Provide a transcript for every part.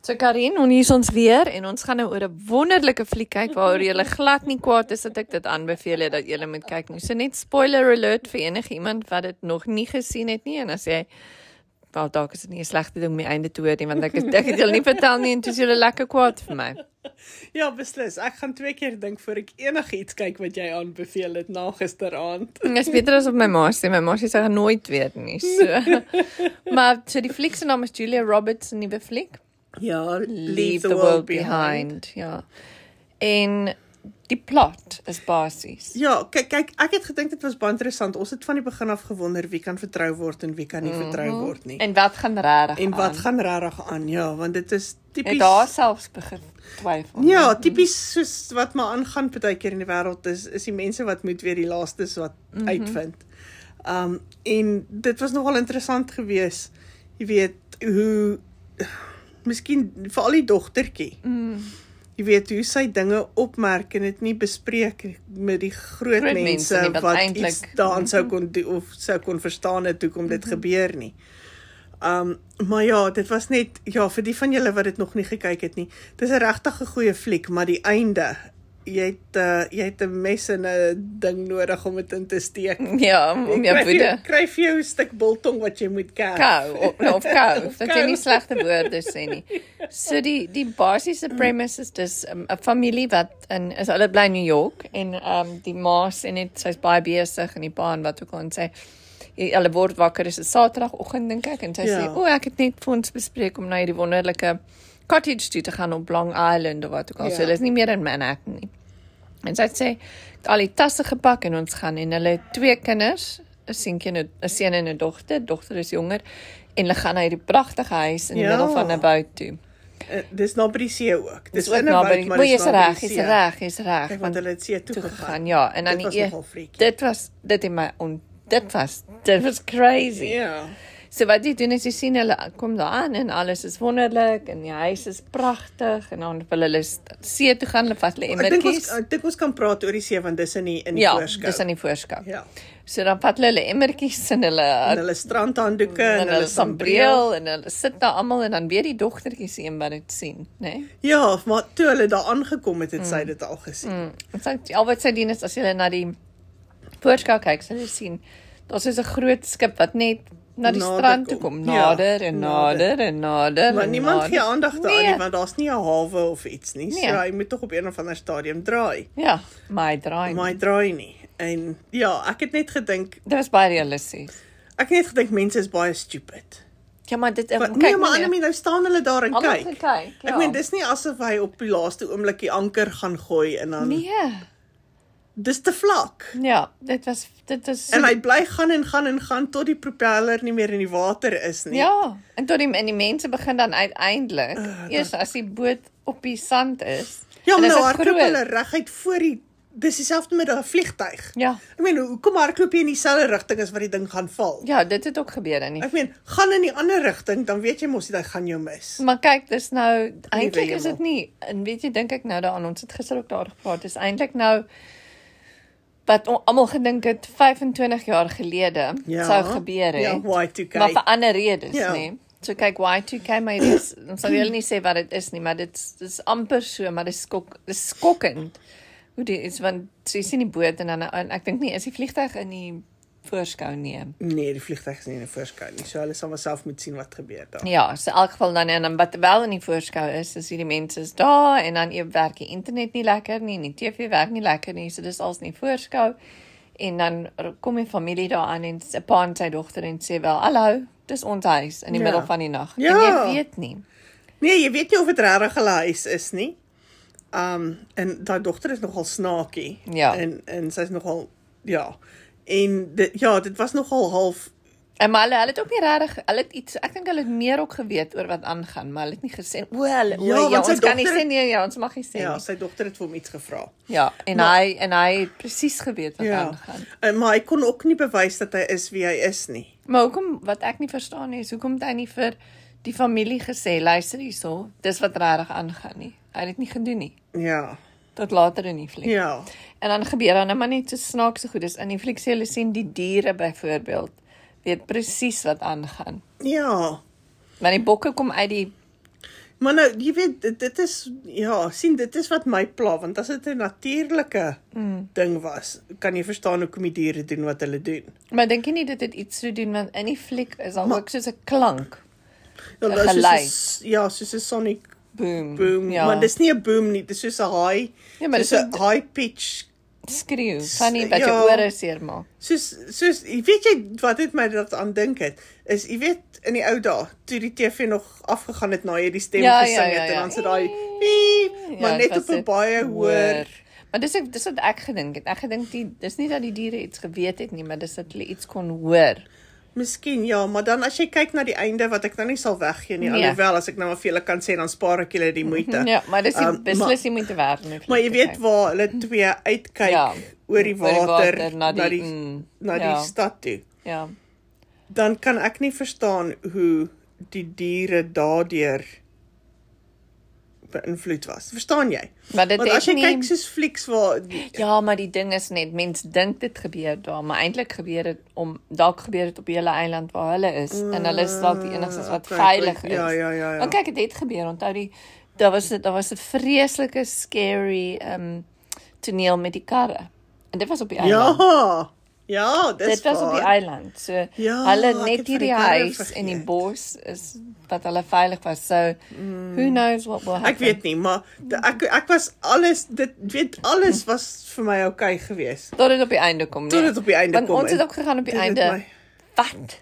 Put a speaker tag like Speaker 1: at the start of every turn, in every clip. Speaker 1: So Karin, en hier's ons weer en ons gaan nou oor 'n wonderlike fliek kyk waaroor jy glad nie kwaad is dat ek dit aanbeveel het dat jy moet kyk nie. So net spoiler alert vir enige iemand wat dit nog nie gesien het nie en as jy wel dalk is dit nie 'n slegte ding om die einde te hoor nie want ek is ek het julle nie vertel nie en toe is julle lekker kwaad vir my.
Speaker 2: Ja, beslis. Ek gaan twee keer dink voor ek enigiets kyk wat jy aanbeveel het na gisteraand.
Speaker 1: Dit is beter as op my ma sê. My ma sê sy gaan nooit weet nie. So maar so die fliek se naam is Julia Roberts se nuwe fliek.
Speaker 2: Ja,
Speaker 1: Leave the, world, behind. Ja. En die plot is basies.
Speaker 2: Ja, kyk kyk, ek het gedink dit was baie interessant. Ons het van die begin af gewonder wie kan vertrou word en wie kan nie vertrou word nie.
Speaker 1: Mhm. En wat gaan regtig
Speaker 2: En wat
Speaker 1: aan?
Speaker 2: gaan regtig aan? Ja, want dit is
Speaker 1: het daar
Speaker 2: tipies
Speaker 1: selfs begin twyfel.
Speaker 2: Ja, tipies soos wat maar aangaan baie keer in die wêreld is is die mense wat moet weer die laastes wat mm -hmm. uitvind. Um en dit was nogal interessant geweest. Jy weet hoe miskien veral die dogtertjie. Mm. Jy weet hoe sy dinge opmerk en dit nie bespreek met die groot,
Speaker 1: Groot
Speaker 2: groot
Speaker 1: mense
Speaker 2: mense,
Speaker 1: nie, wat Mhm.
Speaker 2: wat, wat
Speaker 1: eintlik-
Speaker 2: eintlik daaraan sou kon doen of sou kon verstaan het hoekom
Speaker 1: Mhm.
Speaker 2: dit mm -hmm. gebeur nie. Um maar ja, dit was net ja, vir die van julle wat dit nog nie gekyk het nie. Dis 'n regtig 'n goeie fliek, maar die einde, jy het uh, jy het 'n mes en 'n ding nodig om dit in te steek.
Speaker 1: Ja, om- om jou
Speaker 2: Kry vir jou-
Speaker 1: woede
Speaker 2: Kry vir jou 'n stuk biltong wat jy moet kerf.
Speaker 1: kou of, of kou, of dat jy
Speaker 2: kou.
Speaker 1: nie slegte woorde sê nie. So die die
Speaker 2: Mm.
Speaker 1: basiese premise is dis um, 'n familie wat in is hulle bly in New York en ehm um, die ma sê net sy's baie besig en die pa en wat ook al en sy jy- hulle word wakker is 'n Saterdagoggend dink ek en sy
Speaker 2: Ja.
Speaker 1: sê o ek het net vir ons bespreek om na hierdie wonderlike cottage toe te gaan op Long Island of wat ook al. Ja. So
Speaker 2: Ja.
Speaker 1: hulle is nie meer in Manhattan nie. En sy het sê "Ek het al die tasse gepak en ons gaan en hulle het twee kinders, 'n seentjie en 'n 'n seun en 'n dogter. Dogter is jonger en hulle gaan na hierdie pragtige huis in die ja.
Speaker 2: Ja.
Speaker 1: middel van 'n woud toe.
Speaker 2: Uh, dis naby die see ook. Dis
Speaker 1: ook
Speaker 2: in 'n woud, maar
Speaker 1: O,
Speaker 2: dis
Speaker 1: jy's
Speaker 2: naby die
Speaker 1: reg, jy's
Speaker 2: see. ja.
Speaker 1: reg, jy's reg.
Speaker 2: Kyk, Want hulle het see toe
Speaker 1: toe
Speaker 2: gegaan.
Speaker 1: gegaan. Ja, en dan
Speaker 2: Dit was
Speaker 1: die eer-
Speaker 2: nogal freaky.
Speaker 1: Dit was dit in my on dit was dit was crazy.
Speaker 2: Ja.
Speaker 1: So wat jy doen is jy sien hulle kom daar aan en alles is wonderlik en die huis is pragtig en dan wil hulle s- see toe gaan, hulle vat hulle
Speaker 2: Ek dink ons
Speaker 1: emmertjies.
Speaker 2: ek dink ons kan praat oor die see want dis in die in die
Speaker 1: Ja,
Speaker 2: voorskou.
Speaker 1: dis aan die voorskou.
Speaker 2: Ja.
Speaker 1: So dan vat hulle hulle emmertjies en hulle
Speaker 2: En hulle strandhanddoeke en hulle sambreel.
Speaker 1: Mm, sambreel en hulle sit daar almal en dan weet die dogtertjie se een wat dit sien, né? Nee?
Speaker 2: Ja, maar toe hulle daar aangekom het, het sy dit al gesien.
Speaker 1: Mm. En sy al wat sy doen is as jy na die voorskou kyk, sal jy sien daar's so 'n groot skip wat net na die
Speaker 2: Nader
Speaker 1: strand toe
Speaker 2: kom.
Speaker 1: kom,
Speaker 2: Ja,
Speaker 1: nader en
Speaker 2: nader.
Speaker 1: nader en nader.
Speaker 2: Maar
Speaker 1: en
Speaker 2: niemand
Speaker 1: nader.
Speaker 2: gee aandag daaraan
Speaker 1: Nee.
Speaker 2: nie want daar's nie 'n hawe of iets nie.
Speaker 1: Nee.
Speaker 2: So hy moet tog op een of ander stadium draai.
Speaker 1: Ja, my draai.
Speaker 2: Maar
Speaker 1: My...
Speaker 2: hy draai nie. En ja, ek het net gedink,
Speaker 1: Dit was baie realisties.
Speaker 2: ek het net gedink mense is baie stupid.
Speaker 1: Ja, maar dit
Speaker 2: Maar nee, maar ander mense nou staan hulle daar en
Speaker 1: Almal
Speaker 2: kyk.
Speaker 1: gaan kyk, ja.
Speaker 2: Ek meen dis nie asof hy op die laaste oomblik die anker gaan gooi en dan
Speaker 1: Nee.
Speaker 2: dis te vlak.
Speaker 1: Ja, dit was dit was
Speaker 2: En hy bly gaan en gaan en gaan tot die propeller nie meer in die water is nie.
Speaker 1: Ja, en tot die en die mense begin dan uiteindelik eers as die boot op die sand is.
Speaker 2: Ah, Ja,
Speaker 1: en
Speaker 2: maar
Speaker 1: is
Speaker 2: nou
Speaker 1: dit
Speaker 2: hardloop
Speaker 1: groot.
Speaker 2: hulle reguit voor die dis dieselfde met 'n vliegtyg.
Speaker 1: Ja.
Speaker 2: Ek meen, hoekom hardloop jy in dieselfde rigting as wat die ding gaan val?
Speaker 1: Ja, dit het ook gebeur in die
Speaker 2: Ek meen, gaan in die ander rigting, dan weet jy mos jy gaan jou mis.
Speaker 1: Maar kyk, dis nou eintlik
Speaker 2: Liewe
Speaker 1: is dit
Speaker 2: hemel.
Speaker 1: nie en weet jy dink ek nou daaraan ons het gister ook daar gepraat. Dis eintlik nou wat on- almal gedink het 25 jaar gelede
Speaker 2: Ja.
Speaker 1: sou gebeur het.
Speaker 2: Ja, Y2K.
Speaker 1: Maar vir ander redes, ja.
Speaker 2: Ja.
Speaker 1: nê. So kyk Y2K maar dit is ons sal julle nie sê wat dit is nie, maar dit is- dis amper so, maar dit is skok dis skokkend. Hoe dit is want so jy sien die boot en dan en ek dink nie is die vliegtyg in die voorskou nie.
Speaker 2: Nee, die vliegtyg is nie in 'n voorskou nie. So hulle sal myself moet sien wat gebeur daar.
Speaker 1: Ja, so in elk geval dan en dan wat wel in die voorskou is, is hierdie mense is daar en dan ewe werk die internet nie lekker nie, en die TV werk nie lekker nie, so dis als nie voorskou. En dan r- kom die familie daar aan en s- 'n pa en sy dogter en sê wel, "Hallo, dis ons huis in die ja.
Speaker 2: Ja.
Speaker 1: middel van die nag." Ja. En
Speaker 2: Ja.
Speaker 1: jy weet nie.
Speaker 2: Nee, jy weet nie of dit regtig hulle huis is nie. Um en daai dogter is nogal snaakie.
Speaker 1: Ja.
Speaker 2: En en sy's nogal ja. En dit, ja, dit was nogal half
Speaker 1: En maar hulle, hulle het ook nie regtig, hulle het iets, ek dink hulle het meer ook geweet oor wat aangaan, maar hulle het nie gesê, "O, hulle, o,
Speaker 2: Ja,
Speaker 1: ja, ja
Speaker 2: want sy
Speaker 1: ons kan nie
Speaker 2: dogter-
Speaker 1: sê nee, ja, ons mag nie sê
Speaker 2: ja,
Speaker 1: nie."
Speaker 2: sy dogter het vir hom iets gevra.
Speaker 1: Ja, en maar, hy en hy het presies geweet wat ja.
Speaker 2: Ja.
Speaker 1: aangaan.
Speaker 2: En maar hy kon ook nie bewys dat hy is wie hy is nie.
Speaker 1: Maar hoekom wat ek nie verstaan nie is hoekom het hy nie vir die familie gesê luister hierso, dis wat regtig aangaan nie. Hy het dit nie gedoen nie
Speaker 2: Ja.
Speaker 1: tot later in die fliek.
Speaker 2: Ja.
Speaker 1: En dan gebeur dan nou maar net so snaakse goed. Dis in die fliek sê hulle sien die diere byvoorbeeld weet presies wat aangaan.
Speaker 2: Ja.
Speaker 1: Want die bokke kom uit die
Speaker 2: Maar nou, jy weet dit, dit is ja, sien dit is wat my pla want as dit 'n natuurlike mm. ding was, kan jy verstaan hoekom die diere doen wat hulle doen.
Speaker 1: Maar dink jy nie dit het iets te doen want in die fliek is daar ook soos 'n klank.
Speaker 2: Ja,
Speaker 1: 'n
Speaker 2: daar is soos 'n
Speaker 1: geluid.
Speaker 2: s- ja, soos 'n sonic
Speaker 1: Boom.
Speaker 2: boom, ja.
Speaker 1: ja.
Speaker 2: maar dis nie 'n boom nie, dis soos 'n high
Speaker 1: Ja,
Speaker 2: ja,
Speaker 1: maar
Speaker 2: soos
Speaker 1: dis
Speaker 2: 'n high pitch
Speaker 1: skreeu, kan nie wat jou
Speaker 2: Ja.
Speaker 1: ore seermaak.
Speaker 2: Soos soos jy weet jy wat het my dat aan dink het is jy weet in die ou dae toe die TV nog afgegaan het na jy die stem
Speaker 1: Ja, ja,
Speaker 2: gesing het
Speaker 1: ja, ja.
Speaker 2: en dan sit daai piep, maar
Speaker 1: Ja,
Speaker 2: ja,
Speaker 1: dit
Speaker 2: net
Speaker 1: was
Speaker 2: op 'n
Speaker 1: dit.
Speaker 2: baie hoër
Speaker 1: Maar dis ek dis wat ek gedink het. Ek gedink die dis nie dat die diere iets geweet het nie, maar dis dat hulle iets kon hoor.
Speaker 2: miskien ja maar dan as jy kyk na die einde wat ek nou nie sal weggee nie
Speaker 1: Nee.
Speaker 2: alhoewel as ek nou maar vir julle kan sê dan spaar ek julle die moeite
Speaker 1: Ja, maar dis
Speaker 2: Ehm,
Speaker 1: um,
Speaker 2: maar-
Speaker 1: beslis nie moeite werd nie.
Speaker 2: maar jy weet waar hulle twee uitkyk
Speaker 1: Ja,
Speaker 2: oor die
Speaker 1: oor die
Speaker 2: water,
Speaker 1: water,
Speaker 2: na die na die, mm, na die
Speaker 1: ja.
Speaker 2: ja. stad toe
Speaker 1: Ja.
Speaker 2: dan kan ek nie verstaan hoe die diere daardeur beïnvloed was. Verstaan jy?
Speaker 1: Maar dit
Speaker 2: Want as
Speaker 1: het
Speaker 2: jy
Speaker 1: nie
Speaker 2: kyk soos flieks waar die-
Speaker 1: Ja, maar die ding is net mens dink dit gebeur daar, maar eintlik gebeur dit om dalk gebeur dit op die hele eiland waar hulle is en hulle is dalk die enigstes wat
Speaker 2: okay,
Speaker 1: veilig
Speaker 2: Ah, goed.
Speaker 1: is.
Speaker 2: Ja, ja, ja, ja.
Speaker 1: Want kyk, dit het gebeur. Onthou die daar was dit daar was 'n vreeslike scary ehm um, toneel met die karre. En dit was op die eiland.
Speaker 2: Ja. Ja, dis
Speaker 1: dit was op die
Speaker 2: waar.
Speaker 1: eiland. So ja,
Speaker 2: Ja,
Speaker 1: hulle
Speaker 2: ek het
Speaker 1: net
Speaker 2: van die
Speaker 1: hierdie
Speaker 2: karre
Speaker 1: huis en die
Speaker 2: vergeet.
Speaker 1: bos is wat hulle veilig was. So mm. who knows what will happen.
Speaker 2: Ek weet nie, maar d- ek ek was alles dit weet alles was vir my oukei okay geweest.
Speaker 1: tot dit op die einde kom. nee.
Speaker 2: Tot dit op die einde
Speaker 1: Want
Speaker 2: kom,
Speaker 1: Want ons het
Speaker 2: en
Speaker 1: ook gegaan op die
Speaker 2: dit het
Speaker 1: einde.
Speaker 2: my-
Speaker 1: Wat?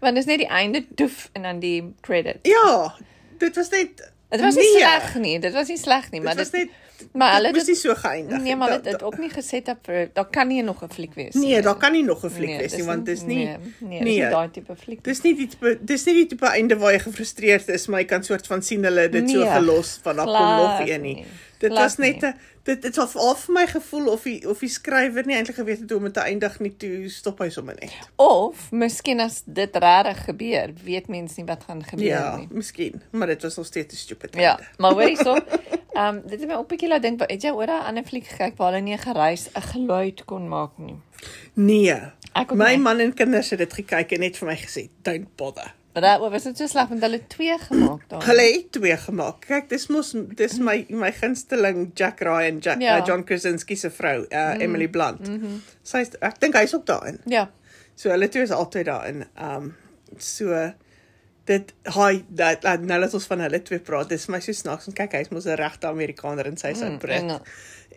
Speaker 1: Want dit is net die einde doef en dan die credit.
Speaker 2: Ja, dit was net
Speaker 1: Dit was nie
Speaker 2: nee,
Speaker 1: sleg nie. Dit was nie sleg nie, maar
Speaker 2: Dit was
Speaker 1: dit
Speaker 2: net
Speaker 1: maar hulle
Speaker 2: dit moes
Speaker 1: dit
Speaker 2: nie so geëindig.
Speaker 1: nee, maar
Speaker 2: Ja, Da-
Speaker 1: dit
Speaker 2: da-
Speaker 1: het ook nie geset op vir daar kan nie nog 'n fliek wees
Speaker 2: Nee, daar kan nie nog 'n fliek
Speaker 1: Nee,
Speaker 2: wees
Speaker 1: dis
Speaker 2: nie want dis nie
Speaker 1: nee, nee, dis nie daai tipe fliek. nie.
Speaker 2: Dis nie die tipe dis nie die tipe einde waar jy gefrustreerd is, maar jy kan soort van sien hulle het dit nee, so
Speaker 1: Nee,
Speaker 2: gelos van daar kom nog
Speaker 1: glad
Speaker 2: een nie.
Speaker 1: nie,
Speaker 2: Dit
Speaker 1: glad
Speaker 2: was net
Speaker 1: nie.
Speaker 2: 'n dit dit het al vir my gevoel of die of die skrywer nie eintlik geweet het hoe om dit te eindig nie, toe stop hy sommer net.
Speaker 1: Of miskien as dit regtig gebeur, weet mens nie wat gaan gebeur
Speaker 2: Ja,
Speaker 1: nie.
Speaker 2: miskien, maar dit was nog steeds 'n stupid
Speaker 1: Nee, Ja,
Speaker 2: einde.
Speaker 1: maar hoor hierso. Ehm um, dit het my op 'n bietjie laat dink, wa- het jy oor 'n ander fliek gekyk waar hulle nie 'n geruis, 'n geluid kon maak nie.
Speaker 2: Nee.
Speaker 1: Ek ook
Speaker 2: My
Speaker 1: nie.
Speaker 2: man en kinders het dit gekyk en net vir my gesê, "Don't bother."
Speaker 1: Maar daaroor was dit so sleg want hulle het twee gemaak daar.
Speaker 2: Hulle het twee gemaak. Kyk, dis mos dis my my gunsteling Jack Ryan, Jack
Speaker 1: Ja. Mm-hmm.
Speaker 2: ja. uh, John Krasinski se vrou, uh, mm. Emily Blunt. Mm -hmm. Sy is, ek dink hy's ook daarin.
Speaker 1: Ja.
Speaker 2: So hulle twee is altyd daarin. Um so dit hi dat laat- nou laat ons van hulle twee praat. Dis my so snaaks en kyk hy's mos 'n regte Amerikaner en sy's 'n Brit.
Speaker 1: en-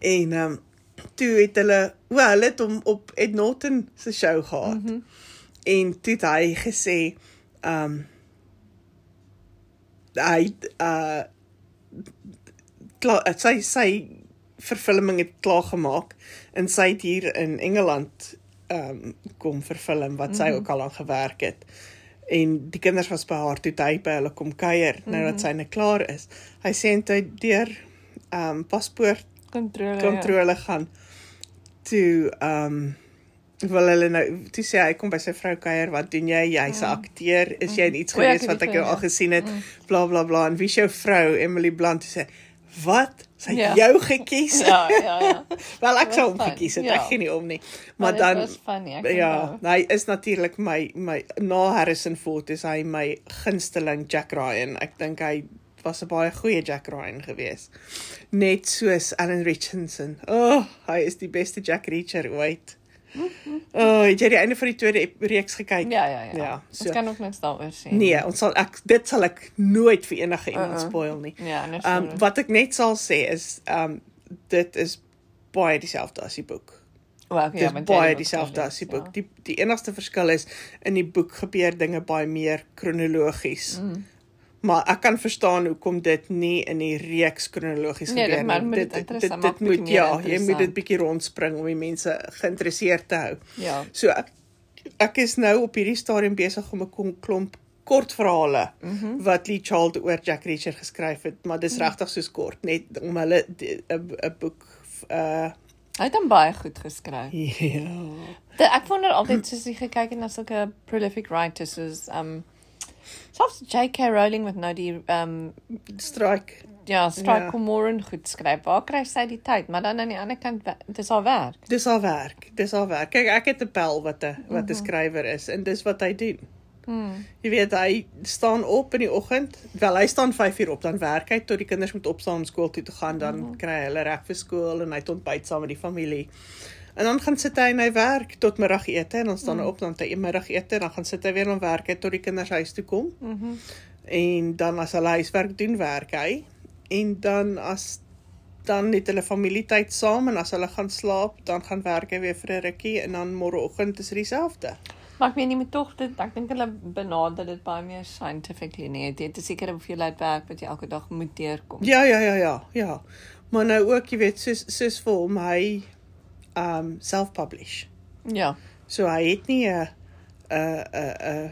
Speaker 2: En um toe het hulle o, hulle het hom op Ed Norton se show gehad. Mm -hmm. En toe het hy gesê um hy uh klaar het sy sy verfilming het klaar gemaak en sy het hier in Engeland um kom verfilm wat sy mm -hmm. ook al aan gewerk het. En die kinders was by haar toe het hy by hulle kom kuier mm -hmm. nou dat sy net klaar is. Hy sê en toe deur um paspoort
Speaker 1: Kontrole.
Speaker 2: kontrole gaan. Toe ehm um, wil hulle nou toe sê hy kom by sy vrou kuier, wat doen jy? Jy's 'n akteur. Is jy in iets
Speaker 1: O, Mhm. Oh ja, ek
Speaker 2: gewees
Speaker 1: het
Speaker 2: wat
Speaker 1: dit
Speaker 2: ek jou
Speaker 1: gehoor, ja.
Speaker 2: al
Speaker 1: Mhm.
Speaker 2: gesien het? Bla bla bla. En wie is jou vrou? Emily Blunt toe sê Wat? Sy
Speaker 1: Ja.
Speaker 2: het jou gekies?
Speaker 1: Ja, ja, ja.
Speaker 2: Wel ek sou hom
Speaker 1: fun,
Speaker 2: gekies het.
Speaker 1: ja.
Speaker 2: Ek gee nie om nie.
Speaker 1: Maar
Speaker 2: Maar,
Speaker 1: dit
Speaker 2: dan
Speaker 1: was funny, ek
Speaker 2: ja,
Speaker 1: onthou.
Speaker 2: hy is natuurlik my my na Harrison Ford is hy my gunsteling Jack Ryan. Ek dink hy was 'n baie goeie Jack Ryan gewees. Net soos Alan Richardson. O, oh, hy is die beste Jack Reacher ooit. O, oh, het jy die einde van die tweede ep- reeks gekyk?
Speaker 1: Ja, ja, ja.
Speaker 2: Ja,
Speaker 1: Ons
Speaker 2: so
Speaker 1: kan ook niks daaroor sê.
Speaker 2: nee, ons sal ek dit sal ek nooit vir enige
Speaker 1: Uh-uh.
Speaker 2: iemand uh -uh. spoil nie.
Speaker 1: Ja, anders.
Speaker 2: Ehm um, wat ek net sal sê is ehm um, dit is baie dieselfde as die boek.
Speaker 1: well, okay,
Speaker 2: Dit
Speaker 1: ja,
Speaker 2: is
Speaker 1: want jy
Speaker 2: baie
Speaker 1: het ook
Speaker 2: dieselfde
Speaker 1: gelees,
Speaker 2: as die boek.
Speaker 1: ja.
Speaker 2: Die die enigste verskil is in die boek gebeur dinge baie meer kronologies. Mm. Maar ek kan verstaan hoekom dit nie in die reeks kronologies
Speaker 1: Nee, dit
Speaker 2: gebeur
Speaker 1: maak- moet dit
Speaker 2: dit,
Speaker 1: interessant
Speaker 2: dit,
Speaker 1: maak,
Speaker 2: dit
Speaker 1: bietjie
Speaker 2: moet
Speaker 1: meer
Speaker 2: ja, jy moet
Speaker 1: interessant.
Speaker 2: dit bietjie rondspring om die mense geïnteresseerd te hou.
Speaker 1: Ja.
Speaker 2: So ek ek is nou op hierdie stadium besig om 'n kom- klomp kort verhale mm
Speaker 1: Mhm.
Speaker 2: -hmm. wat Lee Child oor Jack Reacher geskryf het, maar
Speaker 1: Mm.
Speaker 2: dis regtig soos kort, net om hulle die- 'n 'n boek uh
Speaker 1: Hy het hom baie goed geskryf.
Speaker 2: ja.
Speaker 1: De, ek wonder altyd soos jy gekyk het na sulke prolific writers soos um selfs J.K. Rowling met nou die um
Speaker 2: strike.
Speaker 1: ja, Strike
Speaker 2: Ja.
Speaker 1: Comoran goed skryf. Waar kry sy die tyd? Maar dan aan die ander kant wa- dis haar werk.
Speaker 2: Dis al werk. Dis al werk. Kyk, ek het 'n pel wat 'n wat 'n skrywer is en dis wat hy doen.
Speaker 1: Mm.
Speaker 2: Jy weet hy staan op in die oggend. Wel hy staan 5uur op dan werk hy tot die kinders moet opstaan om skool toe te gaan, dan mm -hmm. kry hy hulle reg vir skool en hy het ontbyt saam met die familie. En dan gaan sit hy en hy werk tot middagete en dan staan hy op dan het hy middagete en dan gaan sit hy weer en werk hy tot die kinders huis toe kom.
Speaker 1: Mhm.
Speaker 2: En dan as hulle huiswerk doen, werk hy. En dan as dan het hulle familietyd saam en as hulle gaan slaap, dan gaan werk hy weer vir 'n rukkie en dan môreoggend is dit dieselfde.
Speaker 1: Maar ek meen jy moet tog dit ek dink hulle benader dit baie meer scientifically nie. Jy het 'n sekere hoeveelheid werk wat jy elke dag moet deurkom.
Speaker 2: Ja, ja, ja, ja, ja. Maar nou ook, jy weet, soos soos vir hom hy um self-publish.
Speaker 1: Ja.
Speaker 2: So hy het nie 'n 'n 'n 'n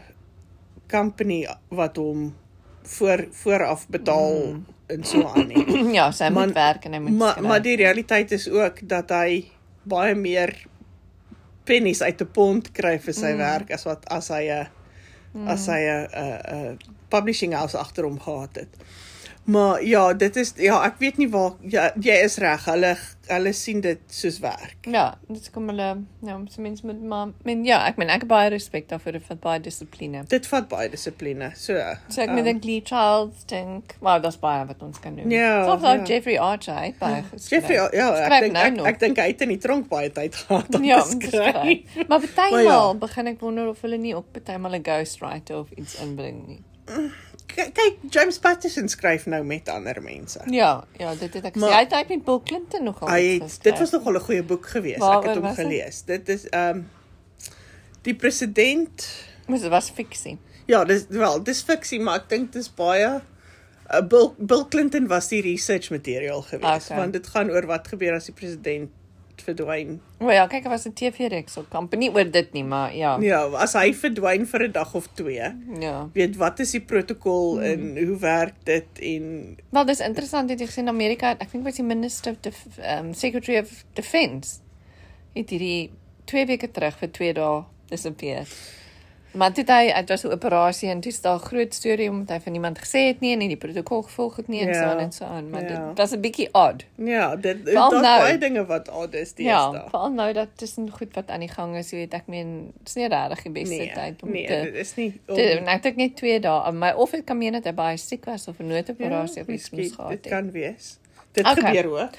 Speaker 2: company wat hom voor vooraf betaal mm. en so aan nie.
Speaker 1: ja, sy moet
Speaker 2: Maar-
Speaker 1: werk en hy moet
Speaker 2: Maar
Speaker 1: skryf.
Speaker 2: maar die realiteit is ook dat hy baie meer pennies uit 'n pond kry vir sy mm. werk as wat as hy 'n mm. as hy 'n 'n publishing house agter hom gehad het. Maar ja, dit is ja, ek weet nie waar ja, jy is reg. Hulle hulle sien dit soos werk.
Speaker 1: Ja, dit kom hulle ja, so mense moet maar men ja, ek meen ek het baie respek daarvoor dit vat baie dissipline.
Speaker 2: Dit vat baie dissipline. So ehm,
Speaker 1: So ek um, moet dink Lee Charles dink, maar daar's baie wat ons kan doen.
Speaker 2: Ja,
Speaker 1: Selfs ou
Speaker 2: ja.
Speaker 1: Jeffrey Archer hy het baie geskryf.
Speaker 2: Jeffrey, ja, ek
Speaker 1: Skryf
Speaker 2: dink
Speaker 1: nou
Speaker 2: ek,
Speaker 1: nog.
Speaker 2: ek dink hy het in die tronk baie tyd gehad om
Speaker 1: Ja,
Speaker 2: te skryf.
Speaker 1: maar partymal
Speaker 2: Maar
Speaker 1: ja.
Speaker 2: ja.
Speaker 1: begin ek wonder of hulle nie ook partymal 'n ghostwriter of iets inbring nie.
Speaker 2: K- Kyk, James Patterson skryf nou met ander mense.
Speaker 1: Ja, ja, dit het ek gesien.
Speaker 2: Maar-
Speaker 1: Hy het uit met Bill Clinton nogal
Speaker 2: Hy
Speaker 1: iets
Speaker 2: het, dit
Speaker 1: geskryf.
Speaker 2: was nogal 'n goeie boek gewees. Ek
Speaker 1: Waaroor
Speaker 2: het hom
Speaker 1: was dit?
Speaker 2: gelees. Dit is ehm um, die president.
Speaker 1: Maar dit was fiksie.
Speaker 2: Ja, dis wel, dis fiksie, maar ek dink dis baie uh, Bill Bill Clinton was die research materiaal gewees,
Speaker 1: Okay.
Speaker 2: okay. want dit gaan oor wat gebeur as die president verdwyn.
Speaker 1: O ja, kyk, dit was 'n TV-reeks op kamp, nie oor dit nie, maar ja. Ja.
Speaker 2: Ja, as hy verdwyn vir 'n dag of twee.
Speaker 1: ja.
Speaker 2: Weet wat is die protokol
Speaker 1: Hmm.
Speaker 2: en hoe werk dit en
Speaker 1: Wel, dis interessant het jy gesien Amerika, het- ek dink was die minister of Def- um, secretary of defense het hierdie 2 weke terug vir 2 dae disappear. Maar dit hy dit was 'n operasie en dis daar groot storie omdat hy van niemand gesê het nie en nie die protokol gevolg het nie en yeah. so
Speaker 2: Ja,
Speaker 1: aan en so aan, maar yeah.
Speaker 2: ja.
Speaker 1: dit was 'n bietjie odd.
Speaker 2: ja, dit
Speaker 1: Veral
Speaker 2: daar's
Speaker 1: nou.
Speaker 2: baie dinge wat odd is die
Speaker 1: Ja,
Speaker 2: eerste. Ja,
Speaker 1: veral nou dat tussen goed wat aan die gang is, jy weet, ek meen, dis nie regtig die beste nee,
Speaker 2: nee,
Speaker 1: tyd om nee,
Speaker 2: nee,
Speaker 1: te
Speaker 2: dit is nie om-
Speaker 1: Dit en ek dink net 2 dae, maar of dit kan meen dat hy baie siek was of 'n
Speaker 2: Ja,
Speaker 1: noodoperasie of iets moes
Speaker 2: miskien,
Speaker 1: gehad
Speaker 2: Dit
Speaker 1: het.
Speaker 2: kan wees. Dit
Speaker 1: Okay.
Speaker 2: okay. gebeur hoor.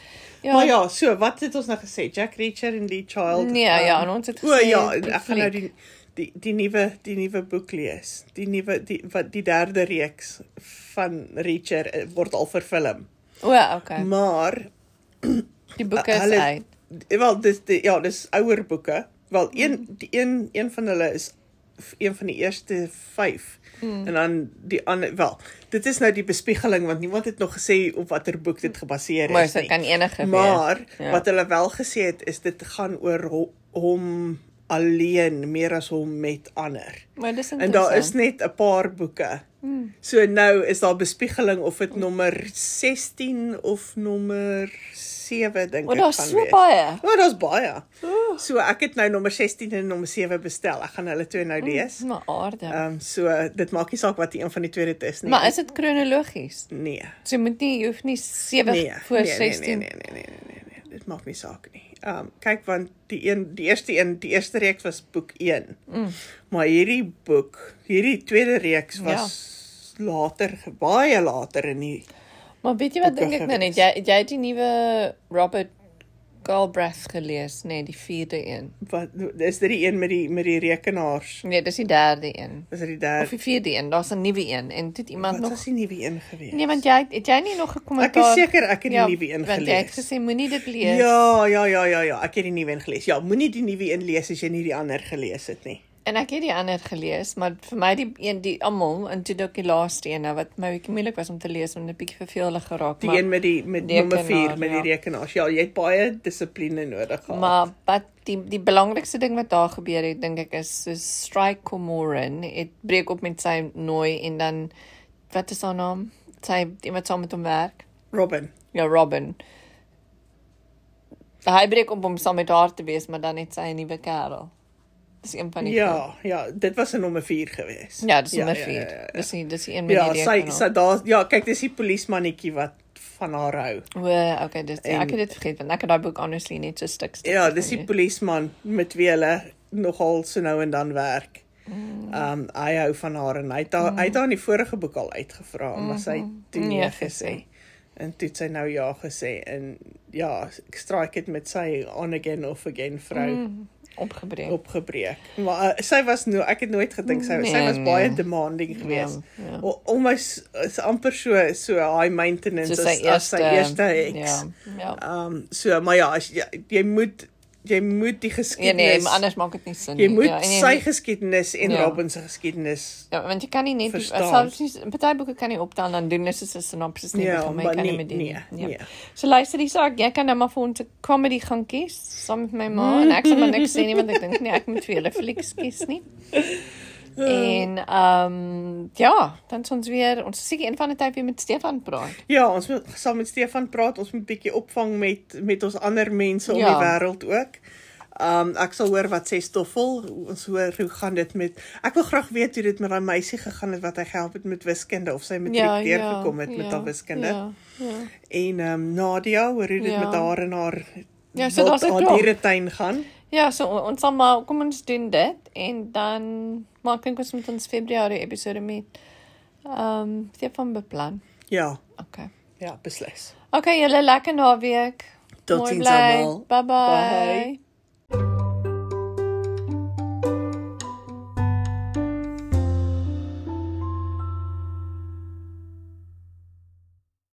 Speaker 2: Ja. Maar ja, so wat het ons nou gesê? Jack Reacher en Lee Child.
Speaker 1: Nee,
Speaker 2: ehm,
Speaker 1: ja, en ons het
Speaker 2: O
Speaker 1: gesê
Speaker 2: ja,
Speaker 1: die
Speaker 2: en ek gaan nou die
Speaker 1: fliek.
Speaker 2: die die nuwe die nuwe boek lees. Die nuwe die wat die derde reeks van Reacher eh, word al verfilm.
Speaker 1: O, okay.
Speaker 2: Maar
Speaker 1: Die boeke is
Speaker 2: Hulle-
Speaker 1: uit.
Speaker 2: eh, wel dis die, ja, dis ouer boeke. Wel een
Speaker 1: Mm.
Speaker 2: die een een van hulle is f- een van die eerste 5. Mm. En dan die ander wel. Dit is nou die bespiegeling want niemand het nog gesê op watter boek dit gebaseer is
Speaker 1: Maar dit
Speaker 2: nie.
Speaker 1: kan enige wees.
Speaker 2: Maar
Speaker 1: Ja.
Speaker 2: ja. wat hulle wel gesê het is dit gaan oor ho- hom alleen meer as hom met ander.
Speaker 1: Maar dis
Speaker 2: En daar is
Speaker 1: interessant. Mm.
Speaker 2: net 'n paar boeke. Hmm. So nou is daar bespiegeling of dit nommer 16 of nommer 7 dink
Speaker 1: O,
Speaker 2: ek
Speaker 1: daar
Speaker 2: gaan
Speaker 1: is so
Speaker 2: wees.
Speaker 1: baie.
Speaker 2: O, daar's baie. Oh. So ek het nou nommer 16 en nommer 7 bestel. Ek gaan hulle twee nou
Speaker 1: Oh,
Speaker 2: lees.
Speaker 1: Maar aarde.
Speaker 2: Ehm nee. um, so dit maak nie saak wat die een van die twee dit is nie.
Speaker 1: Maar is dit kronologies?
Speaker 2: nee.
Speaker 1: So jy moet nie jy hoef nie 7
Speaker 2: nee,
Speaker 1: voor
Speaker 2: nee,
Speaker 1: 16.
Speaker 2: Nee, nee, nee, nee, nee, nee, nee, dit maak nie saak nie. Ehm um, kyk want die een die eerste een, die eerste reeks was boek 1. Mm. Maar hierdie boek, hierdie tweede reeks was ja. later, ge- baie later in die
Speaker 1: Maar weet jy wat
Speaker 2: nee. Boeke
Speaker 1: dink ek nou net? Jy het jy het die nuwe Robert Galbraith gelees, nee, die 4de een.
Speaker 2: wat is dit die een met die met die rekenaars?
Speaker 1: Nee, dis die derde een.
Speaker 2: Is dit die
Speaker 1: Of
Speaker 2: derde?
Speaker 1: die 4de een, daar's 'n nuwe een en dit iemand
Speaker 2: Wat
Speaker 1: nog
Speaker 2: nog sien nie wie een gewees.
Speaker 1: Nee, want jy het jy nie nog 'n
Speaker 2: ek
Speaker 1: kommentaar
Speaker 2: is seker ek het die ja, nuwe een
Speaker 1: Want jy het
Speaker 2: gelees.
Speaker 1: gesê moenie dit lees.
Speaker 2: Ja, ja, ja, ja, ja, ek het die nuwe een gelees. Ja, moenie die nuwe een lees as jy nie die ander gelees het nie.
Speaker 1: En ek het die ander gelees, maar vir my die een die almal en toe dalk die laaste een nou wat my bietjie moeilik was om te lees want dit bietjie vervelig geraak
Speaker 2: Die
Speaker 1: maar
Speaker 2: een met die met
Speaker 1: Rekenaar,
Speaker 2: nommer 4 met die
Speaker 1: ja.
Speaker 2: rekenaars. Ja, jy het baie dissipline nodig gehad.
Speaker 1: maar wat die die belangrikste ding wat daar gebeur het dink ek is so Strike Comorin het breek op met sy nooi en dan wat is haar naam? Sy iemand saam met hom werk.
Speaker 2: Robin.
Speaker 1: Ja, Robin. Hy breek op om saam met haar te wees, maar dan het sy 'n nuwe kerel. Dis een van die
Speaker 2: Ja, ja, dit was 'n nommer 4 gewees.
Speaker 1: Ja, dis nommer 4.
Speaker 2: Ja,
Speaker 1: Ja,
Speaker 2: ja, ja.
Speaker 1: Dis die, dis die een met
Speaker 2: ja
Speaker 1: die
Speaker 2: sy
Speaker 1: rekenaar.
Speaker 2: sy daar ja, kyk dis die polismannetjie wat van haar hou.
Speaker 1: O, okay, dis en,
Speaker 2: En-
Speaker 1: ek het dit vergeet want ek het daai boek honestly net so stuk stuk.
Speaker 2: Ja, dis die
Speaker 1: gevind,
Speaker 2: polisman met wie hulle nogal so nou en dan werk.
Speaker 1: hè.
Speaker 2: Ehm hy hou van haar en hy het haar hy het haar in die vorige boek al uitgevra, maar sy het toe
Speaker 1: Nee
Speaker 2: nee
Speaker 1: gesê.
Speaker 2: gesê. En toe het sy nou ja gesê en ja, ek strike dit met sy on again off again vrou
Speaker 1: Mm, opgebreek.
Speaker 2: opgebreek. Maar uh, sy was nou ek het nooit gedink sy sy
Speaker 1: Nee,
Speaker 2: was baie
Speaker 1: nee.
Speaker 2: demanding geweest.
Speaker 1: Ja, ja.
Speaker 2: O- Almoes is amper so so high maintenance
Speaker 1: So
Speaker 2: so
Speaker 1: sy
Speaker 2: as, as sy eerste ex.
Speaker 1: Ja, ja.
Speaker 2: Ehm so maar ja, as jy jy moet jy moet die
Speaker 1: Ja,
Speaker 2: geskiedenis
Speaker 1: nee, maar anders maak dit nie sin nie.
Speaker 2: jy moet
Speaker 1: ja, en jy
Speaker 2: sy geskiedenis en
Speaker 1: Ja.
Speaker 2: Robin se geskiedenis
Speaker 1: Ja, want jy kan nie net
Speaker 2: Verstaan.
Speaker 1: selfs nie party boeke kan nie optel dan doen dis is 'n sinopsis nie
Speaker 2: Ja,
Speaker 1: Nee, begin, maar jy
Speaker 2: maar
Speaker 1: kan nie
Speaker 2: nie-
Speaker 1: met die
Speaker 2: nee,
Speaker 1: ja.
Speaker 2: nee.
Speaker 1: So luister hier saak, jy kan nou maar vir ons 'n comedy gaan kies saam met my ma en ek sal maar niks sê nie want ek dink nie ek moet vir julle flieks kies nie.
Speaker 2: Ja.
Speaker 1: En ehm um, ja, dan is ons weer ons is seker een van die tyd weer met Stefan praat.
Speaker 2: Ja, ons moet saam met Stefan praat. Ons moet bietjie opvang met met ons ander mense om
Speaker 1: Ja.
Speaker 2: die wêreld ook. Um ek sal hoor wat sê Stoffel. Ons hoor hoe gaan dit met Ek wil graag weet hoe dit met daai meisie gegaan het wat hy gehelp het met wiskunde of sy matriek ja, deurgekom het ja, met haar wiskunde. Ja.
Speaker 1: Ja. ja.
Speaker 2: En um Nadia, hoor hoe dit
Speaker 1: Ja.
Speaker 2: ja. met haar en haar
Speaker 1: Ja, so daar's 'n klomp.
Speaker 2: dieretuin gaan.
Speaker 1: Ja, so on- ons sal maar kom ons doen dit en dan maar ek dink ons moet ons Februarie episode met ehm um, Stefan beplan.
Speaker 2: Ja,
Speaker 1: Okay.
Speaker 2: ja, beslis.
Speaker 1: Okay, julle lekker naweek.
Speaker 2: Tot
Speaker 1: Mooi
Speaker 2: ziens
Speaker 1: bly.
Speaker 2: allemaal.
Speaker 1: Bye bye. bye.
Speaker 2: Bye.